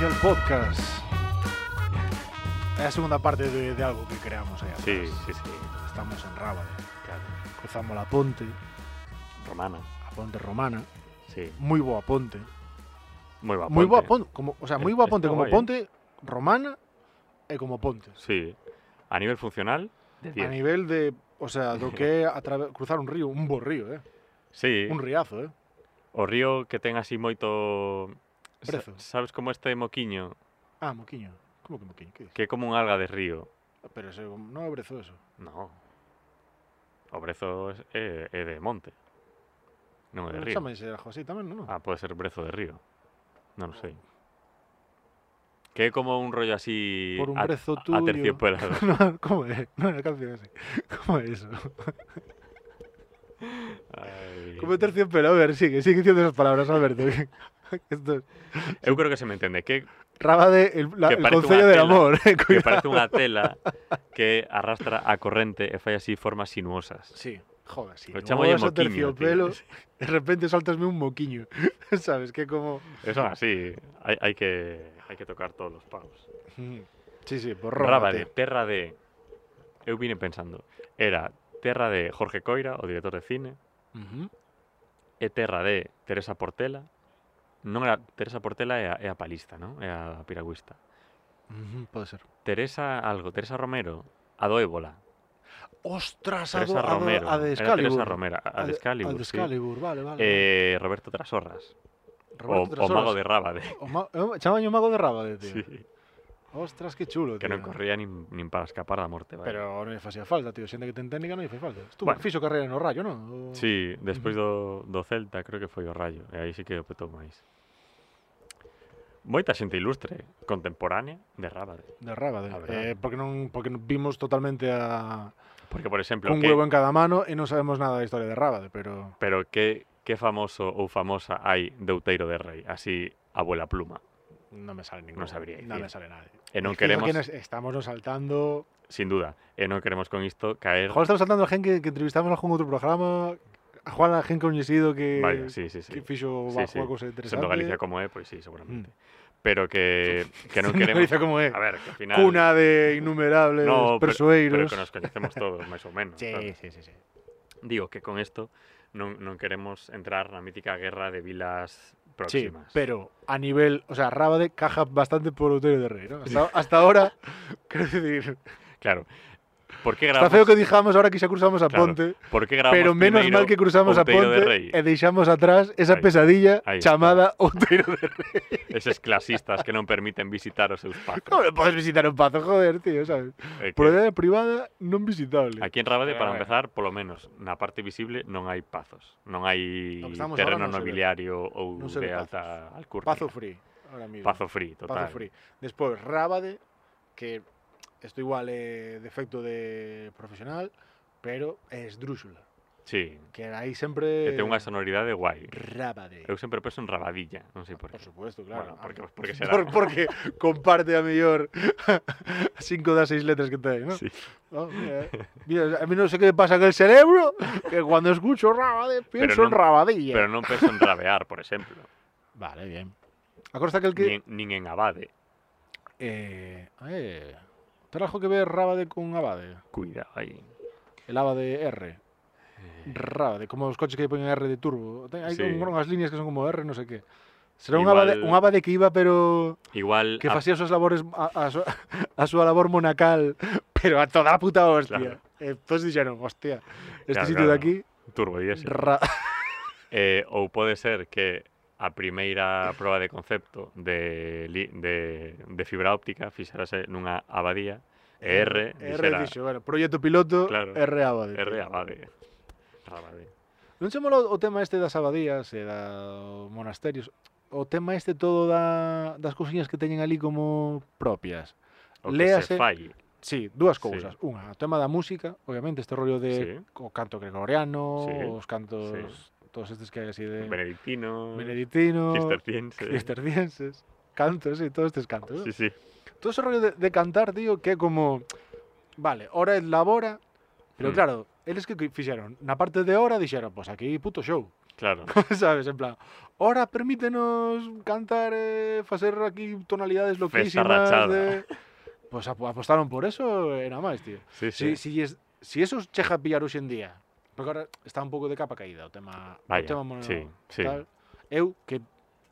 el podcast. Es la segunda parte de, de algo que creamos ahí atrás. Sí, sí, sí. Estamos en Rábade. Claro. Cruzamos la ponte, Romana. a ponte romana. Sí. Muy boa ponte. Muy guapo. ¿eh? Muy boa ponte. Como, o sea, muy boa Está ponte como guai, eh. ponte romana y como pontes. Sí. A nivel funcional, A diez. nivel de, o sea, lo que é atrave- cruzar un río, un bo río, eh. sí. Un riazo, eh. O río que ten así moito... sa- Brezo. Sabes como este moquiño? Ah, moquiño. Como que moquiño? Que dices? Que é como un alga de río. Pero ese, non é brezo eso. No. O brezo es- é, é de monte. Non é de Pero río. chámese algo así tamén, non? Ah, pode ser brezo de río. Non sei. Que é como un rollo así... Por un a- brezo a- tuyo. aterciopelado. No, ¿Cómo es? No, la canción así. ¿Cómo es eso? Ai. Como terciopelo, a ver, sigue, sigue diciendo esas palabras, Alberto. que- que Esto es... Eu creo que se me entende. Que Rabade, el, la- Que el parece una concello del tela. amor. eh, que cuidado. parece unha tela que arrastra a corrente e fai así formas sinuosas. Sí, joder, sí. Lo Como chamo yo vas a moquiño, tío. terciopelo, de repente saltasme un moquiño. ¿Sabes? Que como... E Son así, hai, hai que hai que tocar todos os paus. Sí, sí, pues por Rábade, Rábade. terra de Eu vine pensando, era terra de Jorge Coira, o director de cine, Ujú. e terra de Teresa Portela. Non era Teresa Portela é a, é a palista, non? É a piragüista. Ujú, Puede ser. Teresa algo, Teresa Romero, a do ébola. ¡Ostras! A, do- Teresa a, do- Romero. a de era Teresa Excalibur. Romero, a, a de de- A Excalibur, de sí. Excalibur, vale, vale. Eh, Roberto Trasorras. Roberto o, o Trasoras. mago de Rábade. O ma- eh, Chamaño mago de Rábade, tío. Sí. Ostras, qué chulo, Que tío. non corría nin, nin para escapar da morte, vai. Pero non lle facía falta, tío. Xente que ten técnica non lle fai falta. Estuvo, eh. Bueno. bueno. fixo carreira no Rayo, non? O- Sí, despois do, do Celta creo que foi o Rayo, e aí sí que o petou máis. Moita xente ilustre, contemporánea, de Rábade. De Rábade. A verdade. Eh, porque non porque non- vimos totalmente a Porque, por exemplo, un que, huevo en cada mano e non sabemos nada da historia de Rábade, pero pero que, que famoso ou famosa hai de Outeiro de Rei, así, abuela pluma. non me sale ninguno. Non sabría Non dicir. me sale nadie. E non Fijo queremos, que nos estamos nos saltando... sin duda, e non queremos con isto caer... Igual estamos saltando a gente que, que entrevistamos en algún outro programa, a Juan, a gente coñecido que, Vaya, sí, sí, sí. que fixo sí, Sí, sí. sí. cosa interesante. Sendo Galicia como é, pois sí, seguramente. Pero que, que non Mm. Sendo queremos... Galicia como é. A ver, que ao final... Cuna de innumerables No, pero- Pero persoeiros. que nos coñecemos todos, máis ou menos. Sí, sabes? sí, sí, sí. Digo que con isto non, non queremos entrar na mítica guerra de vilas Sí, próximas. pero a nivel, o sea, Rábade caja bastante por Outeiro de Rey, ¿no? Hasta, hasta ahora, quiero decir, Claro. ¿Por qué está grabamos, feo que dijamos ahora que xa cruzamos a Claro, Ponte, por que grabamos pero menos primeiro mal que cruzamos a Outeiro de Rei? Ponte e deixamos atrás esa Ahí, pesadilla ahí está. chamada Outeiro de Rey. Eses clasistas que non permiten visitar os seus pacos. Non me podes visitar un pazo, joder, tío, sabes? É que Propiedade privada non visitable. Aquí en Rábade, Pero para bueno. empezar, polo menos, na parte visible non hai pazos. Non hai No que estamos terreno ahora non se ve. nobiliario ou Non se de ve alta alcurnia. Pazo Free, ahora mismo. Pazo free, Pazo total. Free. Despois, Rábade, que isto igual é defecto de profesional, pero é esdrúxula. Sí. Que aí sempre... E ten unha sonoridade guai. Rábade. Eu sempre penso en rabadilla, non sei por Eh, Por que. supuesto, claro. Ah, Bueno, porque- porque será, Por- ¿no? porque comparte a mellor cinco das seis letras que ten, ¿no? Sí. Oh, mira, eh. Mira, a mí no sé qué me pasa con el cerebro, que cuando escucho Rabade pienso en non- Rabadilla. Pero non penso en rabear, por exemplo. Vale, bien. Acorda aquel que... Nin, nin en abade. Eh, eh, ten algo que ver Rabade con Abade? Cuidado aí. El Abade R. Rabade, como os coches que poñen R de turbo. Ten, hai Eh. Sí. sí. unhas líneas que son como R, non sei que. Será un, Igual- abade, un abade que iba pero... Igual que a- facía as súas labores a, a, su, a súa labor monacal, pero a toda a puta hostia. Claro. Eh, Entón dixeron, hostia, este Claro, sitio de claro. aquí turbodiésel. ra... Eh, ou pode ser que a primeira proba de concepto de, li- de, de fibra óptica fixarase nunha abadía e R, R dixera dixo, bueno, proxecto piloto, Claro. R abade. R abade. Rabade. Non se mola o tema este das abadías e da o monasterios, o tema este todo da, das cousiñas que teñen ali como propias. O que se Léase- Eh. fai. Sí, dúas Sí. cousas. Unha, o tema da música, obviamente, este rollo de Sí. o canto gregoriano, Sí. os cantos, todos estes que hai así de Benedictino, benedictino, cisterciense. cistercienses, cantos y todos estos cantos. Sí, sí. Todo ese rollo de, de cantar, tío, que é como, vale, hora es la hora, pero Mm. claro, eles que fixeron, na parte de hora dixeron, pois pues aquí puto show. Claro. sabes, en plan, ora permítenos cantar, eh, facer aquí tonalidades loquísimas rachada. de... Pues ap- apostaron por eso, era máis, tío. Sí, Si, sí. si, es, si eso che pillar hoxe en día, porque agora está un pouco de capa caída o tema, Vaya, o tema mono, sí, sí. Ah, tal. Eu, que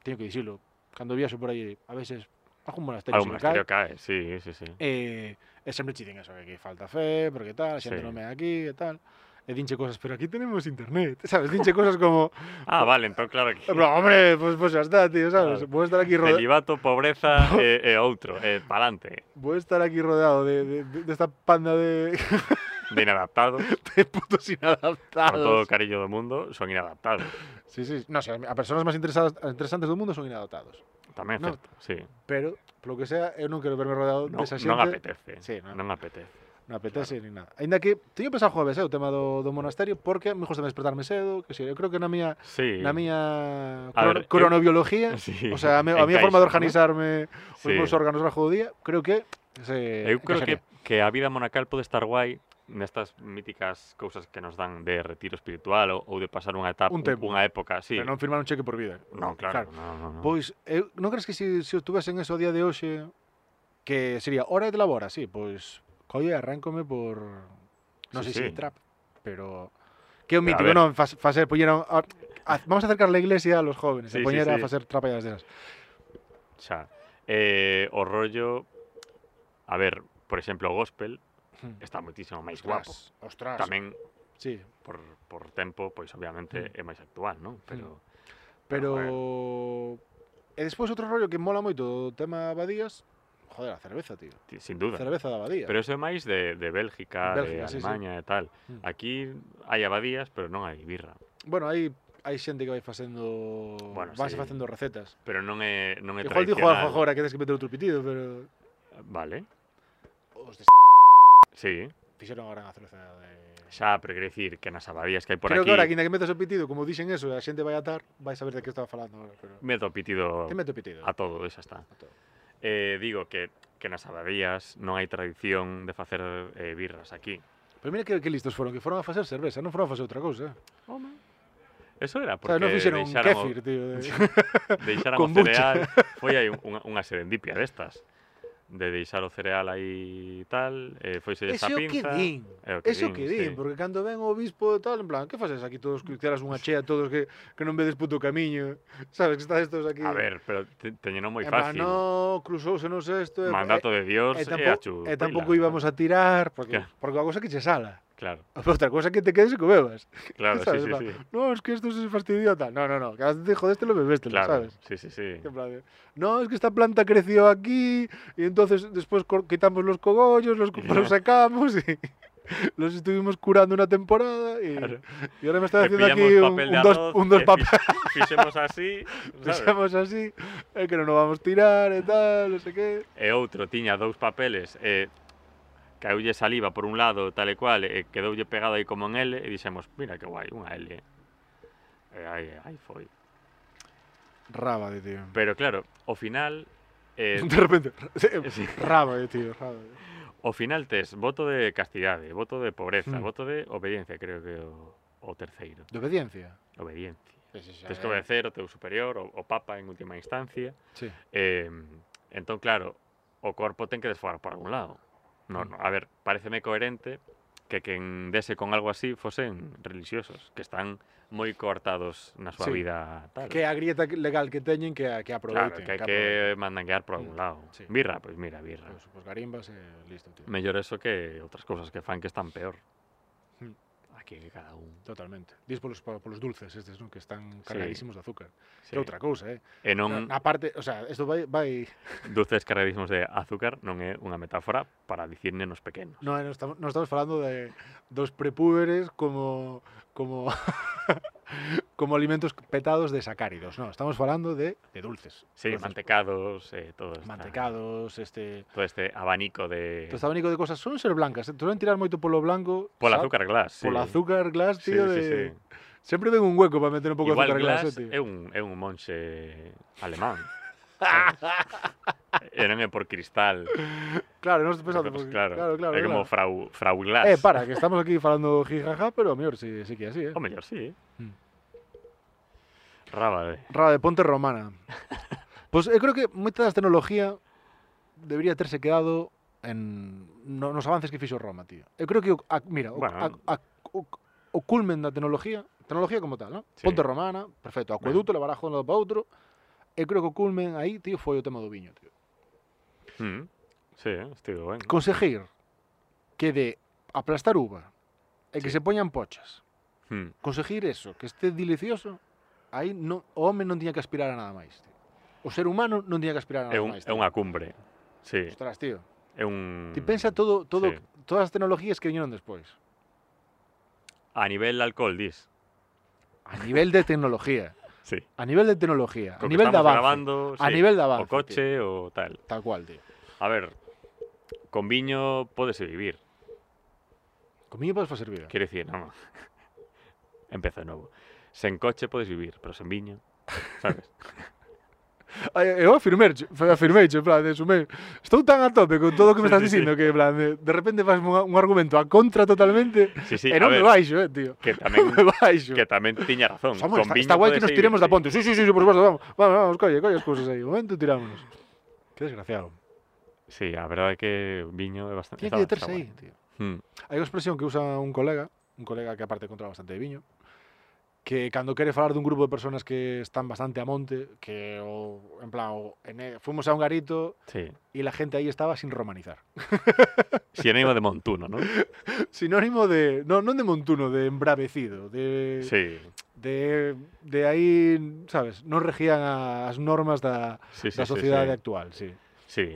teño que dicilo, cando viaxo por aí, a veces, hago un monasterio, Ah, un se me cae, monasterio cae, sí, sí, sí. E, e sempre che din eso, que aquí falta fe, porque tal, a xente Sí. non me aquí e tal. E dinche cosas, pero aquí tenemos internet, sabes? Dinche cosas como, Ah, vale, entón claro que... pero, hombre, pues, pues ya está, tío, sabes? Claro. Vou estar aquí rodeado, Celibato, pobreza e, e outro, e palante, vou estar aquí rodeado de, de, de, desta panda de, de inadaptados, de putos con todo o inadaptados. cariño do mundo, son inadaptados. Sí, sí, no sé, a personas máis interesadas, interesantes do mundo son inadaptados. Tamén é No. certo, sí. Pero, polo que sea, eu non quero verme rodeado Non, desa xente. non apetece, Sí, non. non apetece. Non apetece nin nada. Ainda que teño pensado jueves, eh, o tema do, do monasterio, porque me gusta despertarme cedo, que si, eu creo que na miña Sí. na miña A crono- ver, eu- cronobioloxía, Sí, o sea, a, me, a miña encaixa, forma de ¿no? organizarme pues os Sí. meus órganos ao do día, creo que se Eu creo que, encaixaría. que a vida monacal pode estar guai nestas míticas cousas que nos dan de retiro espiritual ou, ou de pasar unha etapa, Un tempo. unha época, sí. Pero non firmar un cheque por vida. non, claro, non, non, non. Pois, eu, non Pues, eh, crees que se si, si obtuvesen eso a día de hoxe, que sería hora de labora, sí, pois, colle, arráncome por, non Sí, sei se sí. trap, pero... Que é o Pero a mítico, ver. non, fas, facer, poñer a, a, a- vamos a acercar a iglesia a los jóvenes, e Sí, sí, poñer a sí. facer trapeadas delas. Xa. Eh, o rollo, a ver, por exemplo, o gospel está moitísimo máis guapo. Hmm. Ostras, Tamén Ah, sí, por, por tempo, pois Mm. obviamente é máis actual, non? Pero Pero... E despois outro rollo que mola moito o tema abadías, joder, a cerveza, tío. ti- sin duda. Cerveza da abadía. Pero eso é máis de, de Bélgica, Bélgica, de sí, sí. Alemania e tal. Mm. Aquí hai abadías, pero non hai birra. Bueno, hai hai xente que vai facendo Bueno, vanse sí. facendo recetas. Pero non é non é Igual dijo algo tradicional. agora que tens que meter outro pitido, pero Vale. os de Sí, fixeron agora unha cerveza de xa, pero quero dicir que nas abadías que hai por Creo aquí, que ahora, quinda que metes o pitido, como dixen eso, a xente vai atar, vai saber de que estaba falando agora, pero... meto o pitido Te mete o pitido. a todo, e xa está. A todo. Eh, digo que que nas abadías non hai tradición de facer eh, birras aquí. Pero mira que, que listos foron, que foron a facer cerveza, non foron a facer outra cousa. Eso era Porque, o sea, porque non fixeron un deixaran, kéfir, tío. De... o, deixaran o kombucha. cereal, foi aí unha, unha serendipia destas de deixar o cereal aí tal, eh, foise Ese esa é o que pinza. din. é o Eso que din, sí. porque cando ven o obispo e tal, en plan, que faces aquí todos que tiras unha chea, todos que, que non vedes puto camiño, sabes que estás estos aquí. A ver, pero te, teñeno moi en plan, fácil. no, eh". cruzouse, non sei isto. e- Mandato de Dios e, e, tampou- e tampouco íbamos a tirar, porque, Claro. porque a cousa é que che sala. Claro, Outra cousa é que te quedes e que o bebas. claro, sí, sabes, en sí, plan, sí. No, es que isto se fastidió tal. No, no, no, que te jodeste este lo bebeste, Claro, sabes? sí, sí, sí. En plan de, No, es que esta planta creció aquí y entonces después cor- quitamos los cogollos, los, cu- los sacamos y los estuvimos curando una temporada y, Claro. y ahora me está E haciendo aquí pillamos un, papel un de dos, arroz un dos e papel, fix- Fixemos así, sabes? pensamos así, eh, que no nos vamos a tirar y tal, no sé qué. E outro tiña dous papeles e caulle saliva por un lado tal e cual e quedoulle pegado aí como en L e dixemos, mira que guai, unha L. E aí, aí foi. Raba de tío. Pero claro, ao final eh, De repente, sí, raba de tío, raba eh. de ao final tes voto de castidade, voto de pobreza, Mm. voto de obediencia, creo que o, o terceiro. De obediencia. Obediencia. Tienes Tens que obedecer o teu superior, o, o papa en última instancia. Sí. Eh, entón, claro, o corpo ten que desfogar por algún lado. No, Mm. no, a ver, pareceme coherente que quen dese con algo así fosen religiosos, que están moi coartados na Sí. súa vida tal. Que a grieta legal que teñen que, a- que claro, aproveiten. que hai que mandanguear por algún Mm, lado. sí. Birra, pois mira, birra. aproveiten. Pues, pues garimbas e listo, tío. Mellor eso que outras cousas que fan que están peor. Mm. Aquí que cada un. Totalmente. Dis polos, pa- polos dulces estes, non? Que están cargadísimos de azúcar. Sí. Sí. Que outra cousa, eh? E non Na parte, o sea, isto vai, vai... dulces cargadísimos de azúcar non é unha metáfora para dicir nenos pequenos. No, eh, non estamos, non estamos falando de dos prepúberes como como como alimentos petados de sacáridos, non, estamos falando de, de dulces. Sí, Dulces, mantecados, eh, todo esta- Mantecados, este... todo este abanico de... Todo este abanico de cosas son ser blancas, eh? te suelen tirar moito polo blanco. Polo sa- azúcar glass, sí. Polo azúcar glass, Sí, tío, de... sí, sí. Sempre ven un hueco para meter un pouco de Igual azúcar glass, glass eh, tío. é un, é un monxe alemán. sabes? e non é por cristal. Claro, non estou pensando... porque- porque, claro, Pues claro, claro. é como claro. frau, frau glass. Eh, para, que estamos aquí falando jijaja, pero a mellor sí, sí que é así, eh. O mellor sí. Mm. Rábade. Rade, ponte romana. Pois eu creo que moita das tecnología debería terse quedado en no, nos avances que fixo Roma, tío. Eu creo que, o- a, mira, o, Bueno. a, a, o, o culmen da tecnología, tecnología como tal, ¿no? Sí. Ponte romana, perfecto, acueduto, bueno. barajo de un lado para outro. Eu creo que o culmen aí, tío, foi o tema do viño, tío. Mm. Sí, eh, estivo ben. Conseguir que de aplastar uva e que Sí. se poñan pochas, Mm. conseguir eso, que este delicioso, aí non, o home non tiña que aspirar a nada máis, tío. O ser humano non tiña que aspirar a nada É, un, máis. é tío. unha cumbre. Sí, Ostras, tío. é un... Ti pensa todo, todo, sí. todas as tecnologías que viñeron despois. A nivel alcohol, dis. A nivel de tecnología. Sí. A nivel de tecnología. A Co que nivel de estamos avance. grabando, a sí, nivel de avance. o coche o tal. tío. Tal cual, tío. A ver, con viño podese vivir. Comigo podes facer vida. Quiero decir, no. Empeza de novo. Sen coche podes vivir, pero sen viño, sabes? Ai, Eu afirmerche, afirmeiche, en plan, de sumé. Estou tan a tope con todo o que me Sí, estás sí, sí. dicindo que, en plan, de, de repente faz un, un argumento a contra totalmente Sí, sí, e a non ver, me baixo, eh, tío. que tamén Non me baixo. que tamén tiña razón. Samuel, está, con viño está guai que podese nos vivir, tiremos da sí. ponte. Sí, sí, sí, sí, por supuesto, vamos. Vamos, vamos, colle, colle as cousas aí. Un momento tirámonos. Que desgraciado. Sí, a verdade é que o viño é bastante Tiene que deterse aí, tío. Mm, Hai unha expresión que usa un colega, un colega que aparte controla bastante de viño, que cando quere falar dun grupo de personas que están bastante a monte, que o, en plan, o, en, fuimos a un garito sí. e la gente aí estaba sin romanizar. Sinónimo de montuno, ¿no? Sinónimo de, non, non de montuno, de embravecido, de, Sí. de, de aí, sabes, non regían a- as normas da, Sí, sí, da sí, sociedade sí. actual, sí. Sí.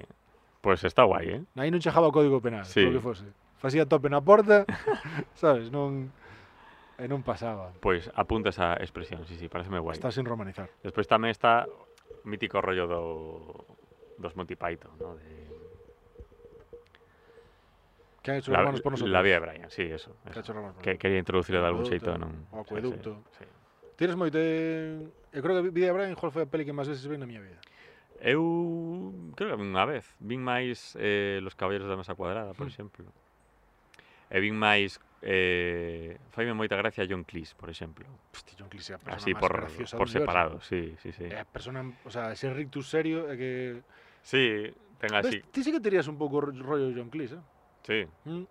Pois pues está guai, eh? Aí non chegaba o código penal, Sí. sí. que fose. Facía tope na porta, sabes, non, e non pasaba. Pois Pues apunta esa expresión, sí, sí, pareceme guai. Está sin romanizar. Despois tamén está o mítico rollo do dos Monty Python, ¿no? De Que han hecho los la, romanos por nosotros? la vida de Brian, sí, eso. Que ha eso. hecho los romanos por Que, nosotros? quería introducirlo de algún Acueducto, xeito, non? o acueducto. Sí, sí, sí. Tires moito... eh, Eu creo que Vida de Brian Hall foi a peli que máis veces vi na miña vida. Eu creo que vin unha vez. Vin máis eh, Los Caballeros da Mesa Cuadrada, por Hmm. exemplo. E vin máis... Eh, faime moita gracia John Cleese, por exemplo. Hostia, John Cleese é a persona Así máis por, graciosa por do universo. Eh. separado, sí, sí, sí. É a persona... O sea, ese rictus serio é que... Ah, Sí, ten Ves, así. Ti sí que terías un pouco ro- rollo de John Cleese, eh? Sí. Mm.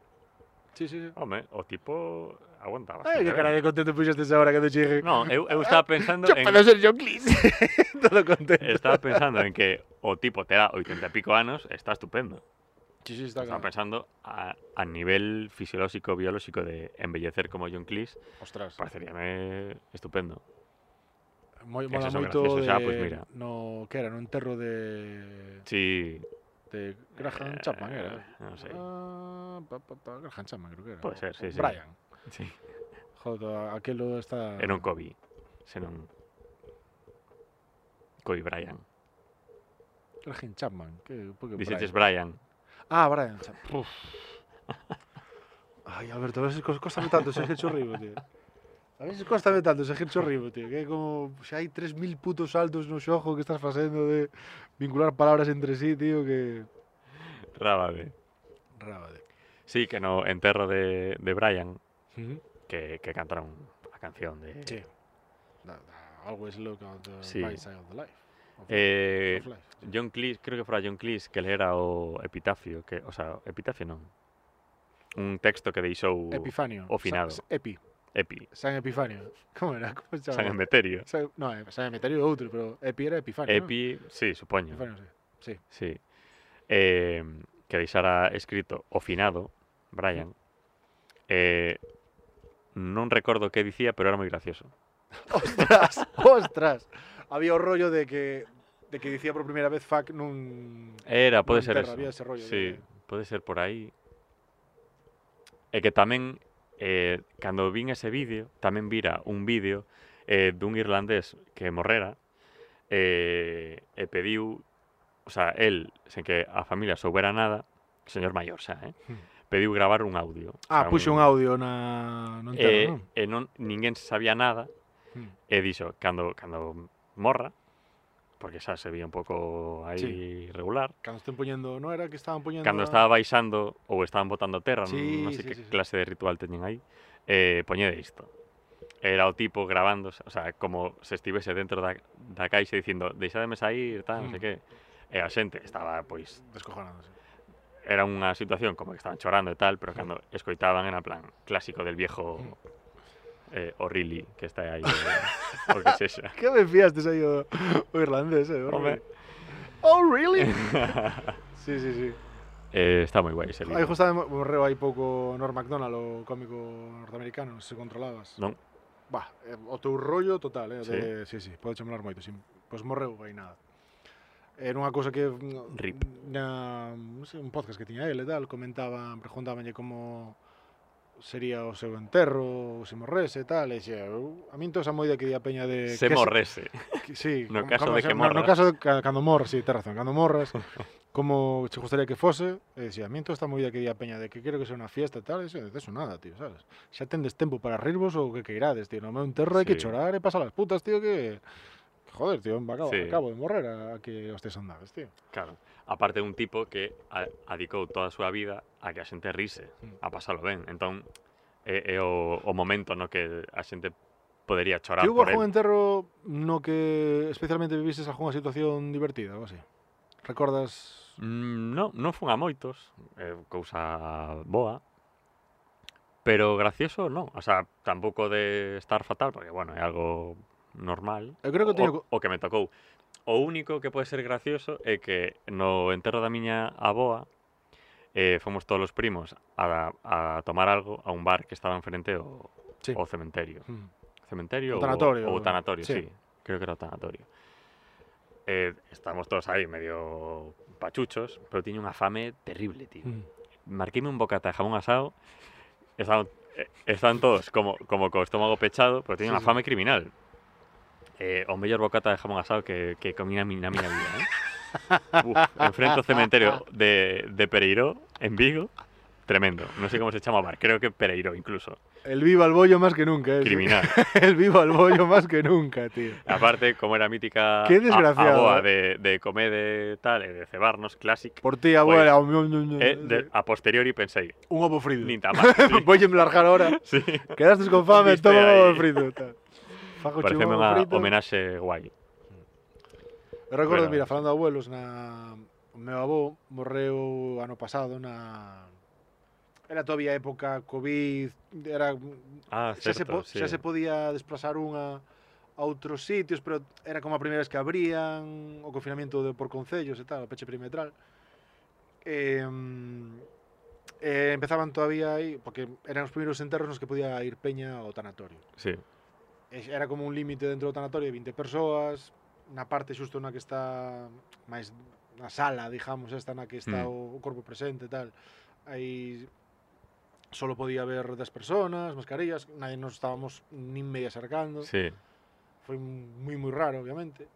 Sí, sí, sí. Home, o tipo aguanta Ai, bastante. Eh, que ben. cara de contento pues puxestes agora cando chegue. No, eu, eu estaba pensando Yo para en, ser John Cleese. Todo contento. estaba pensando en que o tipo te da 80 e pico anos, está estupendo. Sí, sí, está Estaba claro. pensando a, a nivel fisiológico, biológico de embellecer como John Cleese, Ostras. pareceríame estupendo. Moi, Eses mola son moito de... graciosos, xa, pois pues mira. No, que era? No enterro de... Sí, De Graham Eh, Chapman, era. non sei. Ah, pa, pa, pa, Graham Chapman, creo que era. Pode O- ser, o sí, sí. Brian. sí. Joder, aquelo está... E non Kobe, senón Kobe Bryant. Graham Chapman. Que, por que Dixeches Brian? Bryant. Ah, Brian Chapman. Uf. Ay, Alberto, a veces cos- cóstame tanto ser Gercho Ribo, tío. A veces cóstame tanto ser Gercho Ribo, tío. Que é como... Se hai 3.000 putos saltos no xojo que estás facendo de vincular palabras entre sí, tío, que... Rábade. Rábade. Sí, que no enterro de, de Bryant, Mm -hmm. que, que cantaron a canción de... Sí. Eh. Da, da, always look on the Sí. bright side of the life. Of Eh, of life. John Cleese, creo que fora John Cleese que lera o epitafio, que, o sea, epitafio non. Un texto que deixou Epifanio. o finado. Sa- Epi. Epi, San Epifanio. Como era? Como se San chamaba? Emeterio. San, no, eh, San Emeterio é outro, pero Epi era Epifanio. Epi, E ¿no? sí, supoño. Epifanio, sí. Sí. Eh, que deixara escrito o finado Brian. Eh, non recordo que dicía, pero era moi gracioso. ¡Ostras! ¡Ostras! Había o rollo de que de que dicía por primeira vez fuck nun... Era, pode Non ser enterra, eso. había ese rollo de- sí, pode ser por aí. E que tamén, eh, cando vin ese vídeo, tamén vira un vídeo eh, dun irlandés que morrera eh, e pediu, o sea, el, sen que a familia soubera nada, señor maior xa, eh, Hmm. pediu gravar un audio. o Ah, sea, puxo un audio na... Non E, terra, non? e non, ninguén sabía nada, Mm. e dixo, cando, cando morra, porque xa se vía un pouco aí Sí. regular, Cando estén poñendo... Non era que estaban poñendo... cando a- estaba baixando ou estaban botando terra, non- non Sí, sei sí, que sí, sí. clase de ritual teñen aí, eh, poñede isto. era o tipo grabando, o sea, como se estivese dentro da, da caixa dicindo deixademe sair, tal, non sei Mm. que. E a xente estaba, pois, Descojonándose. era unha situación como que estaban chorando e tal, pero cando escoitaban era plan clásico del viejo Mm. eh, O'Reilly que está aí, eh, o que sexa. Que me fiaste aí o, o irlandés, eh? Home. Home. Oh, really? sí, sí, sí. Eh, está moi guai ese Aí vídeo. justamente morreu hai pouco Norm MacDonald, o cómico norteamericano, non sei se controlabas. Non? Bah, eh, o teu rollo total, eh? o De, sí, sí, pode chamelar moito. Sin, pois morreu aí nada. Era unha cousa que mm, Rip. na, non sei, un podcast que tiña ele e tal, comentaban, preguntabanlle como sería o seu enterro, se morrese e tal, e xe, eu- a min toda esa moida que di a peña de... Se que morrese. Que, sí, como- No caso como de se- que no- No morras. caso de ca- cando morras, sí, tes razón, cando morras, como che gustaría que fose, e dicía, a mí toda esta movida que di a peña de que quero que sea unha fiesta e tal, e dicía, de eso nada, tío, sabes? Xa tendes tempo para rirvos ou que queirades, tío, no meu enterro hai que Sí. chorar e pasar as putas, tío, que... que Joder, tío, me acabo, Sí. acabo de morrer a, a que os tes andades, tío. Claro. Aparte de un tipo que a- adicou toda a súa vida a que a xente rise, Mm. a pasalo ben. Entón, é, é o, o momento no que a xente podería chorar Ti hubo por algún él. enterro no que especialmente vivises algunha situación divertida ou así? Recordas... Mm, no, non fun a moitos, é cousa boa. Pero gracioso, non. O sea, tampouco de estar fatal, porque, bueno, é algo normal. Eu Eh, creo que teño... o, o que me tocou. O único que pode ser gracioso é que no enterro da miña aboa eh, fomos todos os primos a, a tomar algo a un bar que estaba enfrente ao, Sí. ao cementerio. Mm. Cementerio O ou- tanatorio. ou tanatorio, sí. Sí. Creo que era o tanatorio. Eh, estamos todos aí medio pachuchos, pero tiña unha fame terrible, tío Mm. marquéme un bocata de jamón asado. Estaban, eh, estaban todos como, como co estómago pechado, pero Sí, teñen unha sí. fame criminal. Eh, o mellor bocata de jamón asado que, que comí na, mi- na miña vida. Eh? Uf, enfrente ao cementerio de, de Pereiró, en Vigo. Tremendo. Non sei como se chama o bar. Creo que Pereiró, incluso. El viva al bollo máis que nunca, eh? sí. Criminal. El viva al bollo máis que nunca, tío. Aparte, como era mítica Qué a- desgraciado, eh. aboa de, de comer de tal, e de cebarnos, clásico. Por ti, abuela. un, Eh, de- a posteriori pensei, un ovo frido. nin tan mal. Sí, Voy a largar ahora. sí. Quedaste con fame, Viste toma un ovo ahí. frido. tal. Fago che un Pareceme ovo unha frito. homenaxe guai. Eu recordo, Pero- mira, falando de abuelos, na... o meu avó morreu ano pasado na... Era todavía época Covid, era... Ah, xa, se po... certo, sí. xa se podía desplazar unha a outros sitios, pero era como a primeira vez que abrían o confinamiento de por concellos e tal, o peche perimetral. Eh, eh, empezaban todavía aí, porque eran os primeiros enterros nos que podía ir peña ao tanatorio. Sí, E Era como un límite dentro do tanatorio de 20 persoas, na parte xusto na que está máis na sala, digamos, esta na que está Mm. o, o corpo presente e tal. Aí solo podía haber 10 personas, mascarillas, nadie nos estábamos nin media acercando. sí, Foi moi moi raro, obviamente.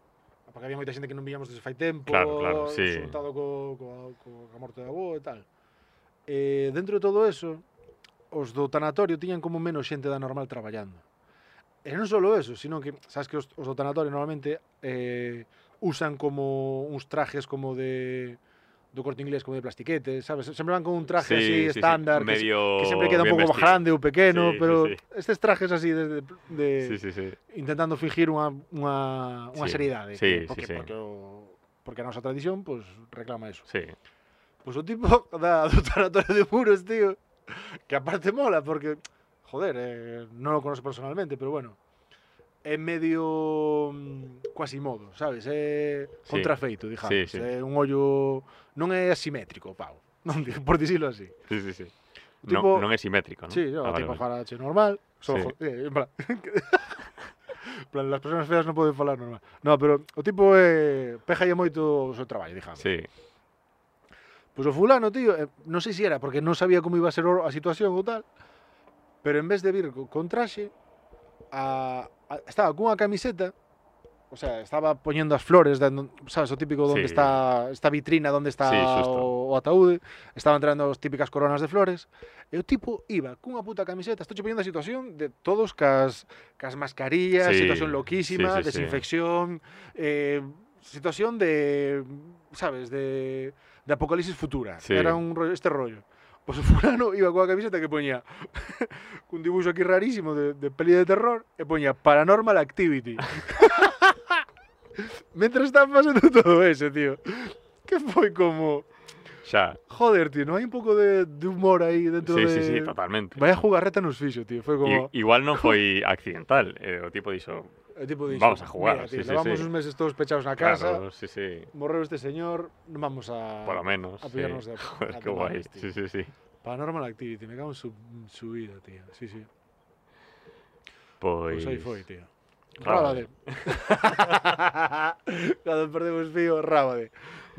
Porque había moita xente que non víamos desde fai tempo, Claro, claro, sí. xuntado co, co, co, a morte da avó e tal. E dentro de todo eso, os do tanatorio tiñan como menos xente da normal traballando. E non só eso, sino que, sabes que os, os do tanatorio normalmente eh, usan como uns trajes como de do corte inglés como de plastiquete, sabes? Sempre van con un traje sí, así sí, sí, estándar, que se- medio que, sempre queda un bien pouco vestido. grande ou pequeno, Sí, sí, pero sí. estes trajes así de, de, de Sí, sí, sí. intentando fingir unha, unha, unha Sí, seriedade. que- sí, sí, porque, sí. Porque, o, porque a nosa tradición pues, reclama eso. Sí, Pois o tipo da, do tanatorio de muros, tío, que aparte mola, porque, joder, eh, non o conozco personalmente, pero bueno, é medio mm, quasi modo, sabes? É Sí. contrafeito, digamos. Sí, sí. É un ollo... Non é asimétrico, pau. Non, di- por dicirlo así. sí, sí. sí. O tipo- No, non é simétrico, non? Sí, yo, Ah, vale, tipo vale. falache normal. Solo Sí. jo- eh, en plan, en plan, las personas feas non poden falar normal. No, pero o tipo eh, peja moito o seu traballo, dixamos. Sí, Pois o fulano, tío, eh, non sei se era porque non sabía como iba a ser o- a situación ou tal, pero en vez de vir co- con traxe, a, a, estaba cunha camiseta, o sea, estaba poñendo as flores, da, non- sabes, o típico donde Sí. está esta vitrina, donde está Sí, xusto. o, o ataúde, estaban traendo as típicas coronas de flores, e o tipo iba cunha puta camiseta, estou poñendo a situación de todos cas, cas mascarillas, Sí, situación loquísima, sí, sí, sí. desinfección, eh, situación de, sabes, de de Apocalipsis Futura. Sí. Era un rollo, este rollo. Pois o fulano iba coa camiseta que poñía un dibuixo aquí rarísimo de, de peli de terror e poñía Paranormal Activity. Mientras están pasando todo eso, tío. Que foi como... Xa. Joder, tío, non hai un pouco de, de humor aí dentro Sí, de... sí, sí, totalmente. Vaya jugarreta nos fixo, tío. Foi como... I, igual non foi accidental, eh, o tipo dixo, O tipo dixo, Vamos a jugar, Mira, tío, sí, sí, levamos sí. uns meses todos pechados na casa, claro, sí, sí, morreu este señor, non vamos a... por lo menos. a Pues sí. pillarnos de- Joder, a qué tomar guai, este. sí, sí, sí. Paranormal Activity, me cago en su, en su vida, tío. Sí, sí. Pois... Pois aí foi, Pues, tío. Rábade. Rábade. Cando perdemos fío, rábade.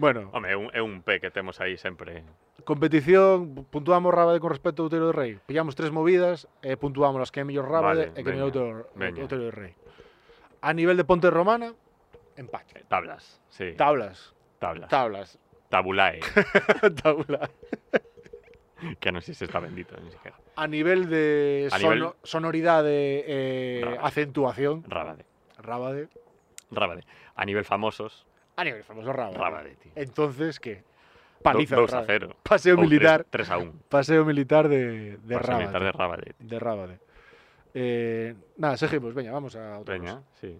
Bueno, Home, é un, é un P que temos aí sempre. competición, puntuamos rábade con respecto ao Outeiro do Rei. Pillamos tres movidas e puntuamos as que é mellor rábade e Vale, que veña, mellor Outeiro- veña. Outeiro do Rei. A nivel de Ponte Romana, empate. Tablas, sí, Tablas, tablas. tablas, Tabulae, tablas. que non sei se está bendito, ni siquiera. A nivel de A sono- nivel- sonoridade e Rábade. acentuación, Rábade, rábade. rábade. A nivel famosos, A nivel Ah, famoso rábade. rábade, tío. Entonces, que? Do- Paliza de 2 a Rábade. 0. Paseo militar. 3 a 1. Paseo militar de, de Paseo militar de Rábade. Rábade. De Rábade. Pues, Eh, nada, seguimos, veña, vamos a outra Veña, sí.